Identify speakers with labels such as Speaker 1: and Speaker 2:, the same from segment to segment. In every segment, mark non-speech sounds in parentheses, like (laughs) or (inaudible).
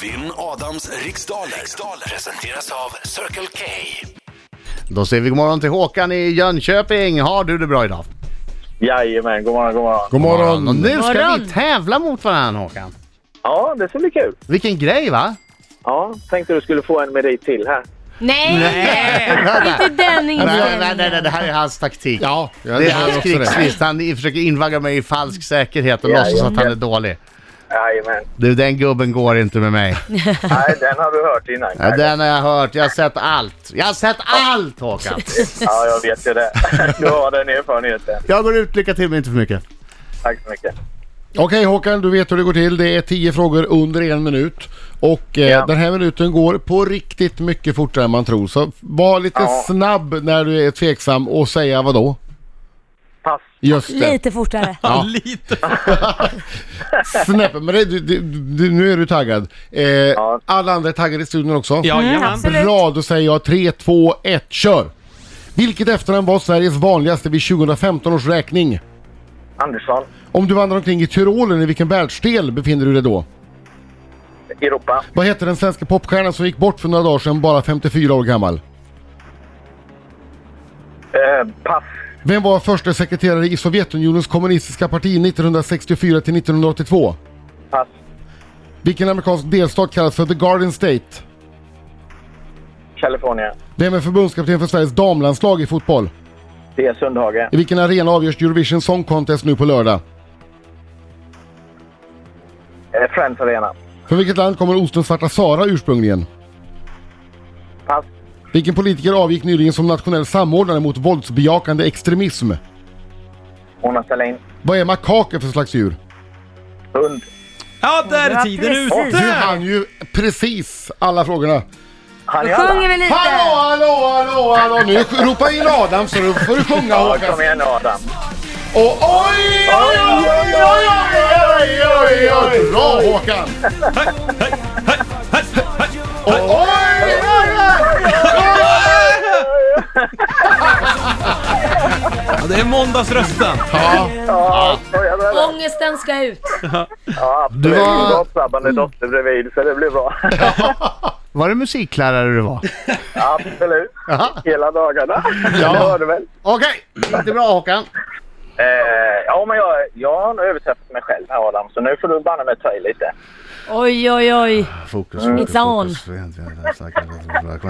Speaker 1: Vinn Adams riksdaler. riksdaler presenteras av Circle K.
Speaker 2: Då säger vi god morgon till Håkan i Jönköping. Har du det bra idag?
Speaker 3: Jajamän, god morgon, god morgon.
Speaker 4: God morgon!
Speaker 2: Och nu ska
Speaker 5: Morgon.
Speaker 2: vi tävla mot varandra Håkan.
Speaker 3: Ja, det ska bli kul.
Speaker 2: Vilken grej va?
Speaker 3: Ja, tänkte du skulle få en merit till här.
Speaker 5: Nej! Inte den
Speaker 2: Nej, nej, nej, nej, det
Speaker 5: inställningen.
Speaker 2: här är hans taktik.
Speaker 4: Ja, jag
Speaker 2: Det är
Speaker 4: tror
Speaker 2: hans
Speaker 4: också det.
Speaker 2: krigslist. Han i- försöker invagga mig i falsk säkerhet och
Speaker 3: Ja,
Speaker 2: låtsas
Speaker 3: ja.
Speaker 2: att han är dålig.
Speaker 3: Jajamän.
Speaker 2: Du, den gubben går inte med
Speaker 3: (laughs)
Speaker 2: mig.
Speaker 3: Nej, den har du hört innan.
Speaker 2: Ja, den har jag hört. Jag har sett allt. Jag har sett allt
Speaker 3: (laughs)
Speaker 2: Håkan!
Speaker 3: Ja, jag vet ju det. (laughs) Du har den erfarenheten.
Speaker 2: Jag går ut. Lycka till men inte för mycket.
Speaker 3: Tack så mycket.
Speaker 4: Okej Håkan, du vet hur det går till. Det är 10 frågor under en minut. Och eh,
Speaker 3: Ja.
Speaker 4: den här minuten går på riktigt mycket fortare än man tror. Så var lite
Speaker 3: Ja.
Speaker 4: snabb när du är tveksam och säga vad då?
Speaker 3: Pass.
Speaker 4: Just det.
Speaker 5: Lite fortare.
Speaker 4: Ja.
Speaker 6: Lite.
Speaker 4: Snäpp. Men det, du, du, du, nu är du taggad. Eh, Alla andra är taggade i studion också?
Speaker 6: Jajamän.
Speaker 5: absolut.
Speaker 4: Bra, då säger jag 3, 2, 1, kör! Vilket efternamn var Sveriges vanligaste vid 2015 års räkning?
Speaker 3: Andersson.
Speaker 4: Om du vandrar omkring i Tyrolen, i vilken världsdel befinner du dig då?
Speaker 3: Europa.
Speaker 4: Vad heter den svenska popstjärnan som gick bort för några dagar sedan, bara 54 år gammal?
Speaker 3: Eh, pass.
Speaker 4: Vem var första sekreterare i Sovjetunionens kommunistiska parti 1964 till 1982?
Speaker 3: Pass.
Speaker 4: Vilken amerikansk delstat kallas för The Garden State?
Speaker 3: Kalifornien.
Speaker 4: Vem är förbundskapten för Sveriges damlandslag i fotboll?
Speaker 3: Det är Sundhage.
Speaker 4: I vilken arena avgörs Eurovision Song Contest nu på lördag?
Speaker 3: Eh, Friends Arena.
Speaker 4: Från vilket land kommer osten Svarta Sara ursprungligen?
Speaker 3: Pass.
Speaker 4: Vilken politiker avgick nyligen som nationell samordnare mot våldsbejakande extremism?
Speaker 3: Mona Sahlin.
Speaker 4: Vad är makaker för slags djur?
Speaker 3: Hund.
Speaker 6: Ja, där är tiden
Speaker 5: precis.
Speaker 4: Du
Speaker 6: ute!
Speaker 4: hann ju precis alla frågorna.
Speaker 3: Han är
Speaker 5: Sjunger vi lite?
Speaker 4: Hallå, hallå, hallå, hallå! Nu ropa in Adam så då får du sjunga
Speaker 3: Ja,
Speaker 4: Håkan.
Speaker 3: kom igen nu Adam.
Speaker 4: Och oj, oj, oj, oj, oj, oj, oj, oj, oj. Bra Håkan! Och oj, oj, oj, oj.
Speaker 6: Ja, det är måndagsrösten.
Speaker 4: Ja,
Speaker 3: Ja, skojar du eller?
Speaker 5: Ångesten ska ut.
Speaker 3: Ja, absolut.
Speaker 2: Du
Speaker 3: Du
Speaker 2: var-
Speaker 3: var... Gottsabban dotter bredvid, så det blir bra.
Speaker 2: Var det musiklärare du var?
Speaker 3: Absolut. Hela dagarna.
Speaker 4: Ja.
Speaker 3: Det hör du väl?
Speaker 2: Okej, inte bra Håkan.
Speaker 3: Eh, ja, men jag, jag har nog överträffat mig själv här Adam, så nu får du banne mig ta i lite.
Speaker 5: Oj, oj, oj.
Speaker 2: Fokus,
Speaker 5: It's
Speaker 2: on.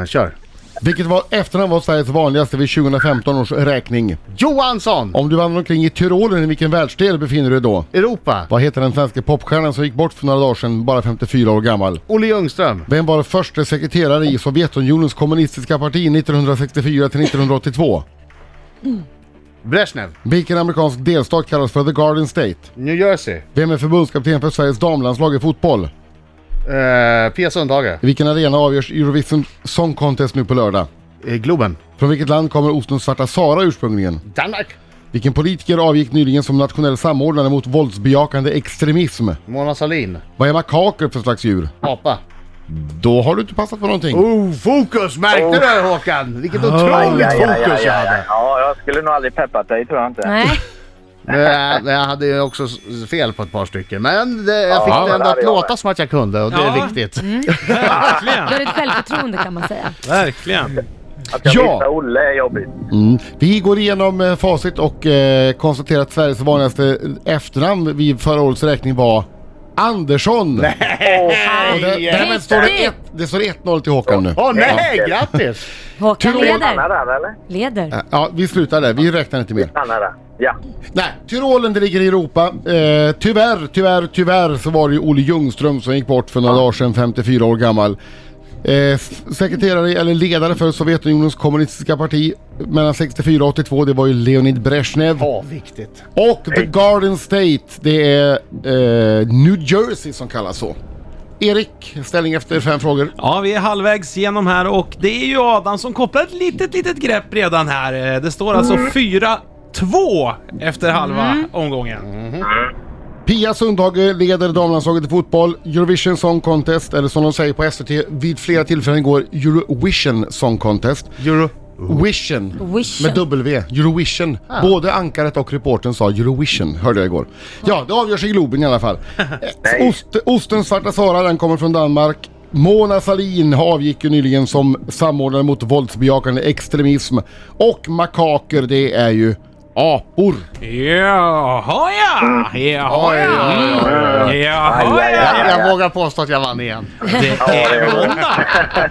Speaker 2: Kör.
Speaker 4: vilket var efternamn var Sveriges vanligaste vid 2015 års räkning.
Speaker 2: Johansson,
Speaker 4: Om du vandrar omkring i Tyrolen, i vilken världsdel befinner du dig då?
Speaker 2: Europa.
Speaker 4: Vad heter den svenska popstjärnan som gick bort för några dagar sedan, bara 54 år gammal?
Speaker 2: Olle Ljungström.
Speaker 4: Vem var första sekreterare i Sovjetunionens kommunistiska parti 1964 till 1982?
Speaker 2: Brezhnev.
Speaker 4: Vilken amerikansk delstat kallas för The Garden State?
Speaker 2: New Jersey.
Speaker 4: Vem är förbundskapten för Sveriges damlandslag i fotboll?
Speaker 2: Eh, Pia Sundhage.
Speaker 4: I vilken arena avgörs Eurovision Song Contest nu på lördag?
Speaker 2: Eh, Globen.
Speaker 4: Från vilket land kommer osten Svarta Sara ursprungligen?
Speaker 2: Danmark.
Speaker 4: Vilken politiker avgick nyligen som nationell samordnare mot våldsbejakande extremism?
Speaker 2: Mona Sahlin.
Speaker 4: Vad är makaker för slags djur?
Speaker 2: Apa.
Speaker 4: Då har du inte passat på någonting.
Speaker 2: Oh, fokus! Märkte du
Speaker 3: Oh.
Speaker 2: Håkan? Vilket otroligt fokus jag hade.
Speaker 3: Ja, jag skulle nog aldrig peppat dig, tror jag inte.
Speaker 5: Nej.
Speaker 2: Eh, Jag hade ju också s- fel på ett par stycken, men det, jag fick
Speaker 3: Ja,
Speaker 2: det
Speaker 3: men
Speaker 2: ändå
Speaker 3: det
Speaker 2: att
Speaker 3: hade jag
Speaker 2: låta
Speaker 3: med.
Speaker 2: som att jag kunde och det är
Speaker 6: Ja.
Speaker 2: viktigt.
Speaker 5: Du
Speaker 6: Verkligen.
Speaker 5: har ett självförtroende kan man säga.
Speaker 6: Verkligen.
Speaker 3: Att jag
Speaker 4: Ja.
Speaker 3: missar Olle är jobbigt.
Speaker 4: Mm. Vi går igenom eh, facit och eh, konstaterar att Sveriges vanligaste eh, efternamn vid förra årets räkning var Andersson. Nej. Och där, därmed står det, ett, det står 1-0 till Håkan nu.
Speaker 2: Åh nej, grattis!
Speaker 5: Håkan
Speaker 4: Tyrolen.
Speaker 3: Stannar
Speaker 5: leder.
Speaker 3: där, eller?
Speaker 5: Leder.
Speaker 4: Ja, vi slutar där. Vi räknar inte mer.
Speaker 3: Stannar där. Ja.
Speaker 4: Nej, Tyrolen det ligger i Europa. Eh, tyvärr, tyvärr, tyvärr så var det ju Olle Ljungström som gick bort för några dagar sedan, 54 år gammal. Eh, s- sekreterare eller ledare för Sovjetunionens kommunistiska parti mellan 64 och 82, det var ju Leonid Brezhnev.
Speaker 2: Ja, viktigt.
Speaker 4: Och The Garden State, det är eh, New Jersey som kallas så. Erik, ställning efter fem frågor.
Speaker 6: Ja, vi är halvvägs igenom här och det är ju Adam som kopplar ett litet, litet grepp redan här. Eh, Det står alltså 4-2 efter halva omgången.
Speaker 4: Pia Sundhage leder damlandslaget i fotboll, Eurovision Song Contest, eller som de säger på SVT vid flera tillfällen går Eurovision Song Contest.
Speaker 2: Euro
Speaker 4: Eurovision.
Speaker 5: Vision.
Speaker 4: Med W. Eurovision. Både ankaret och reportern sa Eurovision, hörde jag igår. Ja, det avgörs i Globen i alla fall. Eh, Ost, ostens svarta Sara, den kommer från Danmark. Mona Sahlin avgick ju nyligen som samordnare mot våldsbejakande extremism. Och makaker, det är ju apor.
Speaker 6: Jaha ja! Jaha ja!
Speaker 3: Aj,
Speaker 6: Jaha
Speaker 3: aj,
Speaker 6: ja!
Speaker 3: aj.
Speaker 2: Jag, jag vågar påstå att jag vann igen.
Speaker 6: Det
Speaker 3: det
Speaker 6: är
Speaker 3: är bra.
Speaker 6: måndag!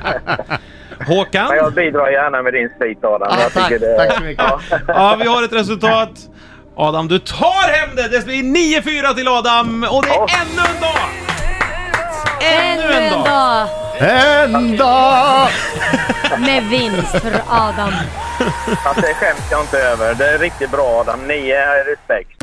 Speaker 3: Men jag
Speaker 6: Håkan,
Speaker 3: bidrar gärna med din sprit Adam.
Speaker 2: Ah,
Speaker 3: jag
Speaker 2: tack,
Speaker 3: tycker det...
Speaker 2: tack så mycket.
Speaker 6: ja, vi har ett resultat. Adam, du tar hem det! Det blir 9-4 till Adam och det är ännu en dag! Ännu en dag!
Speaker 2: En dag!
Speaker 5: med vinst för Adam.
Speaker 3: Att det skäms jag inte över. Det är riktigt bra Adam. Ni är respekt.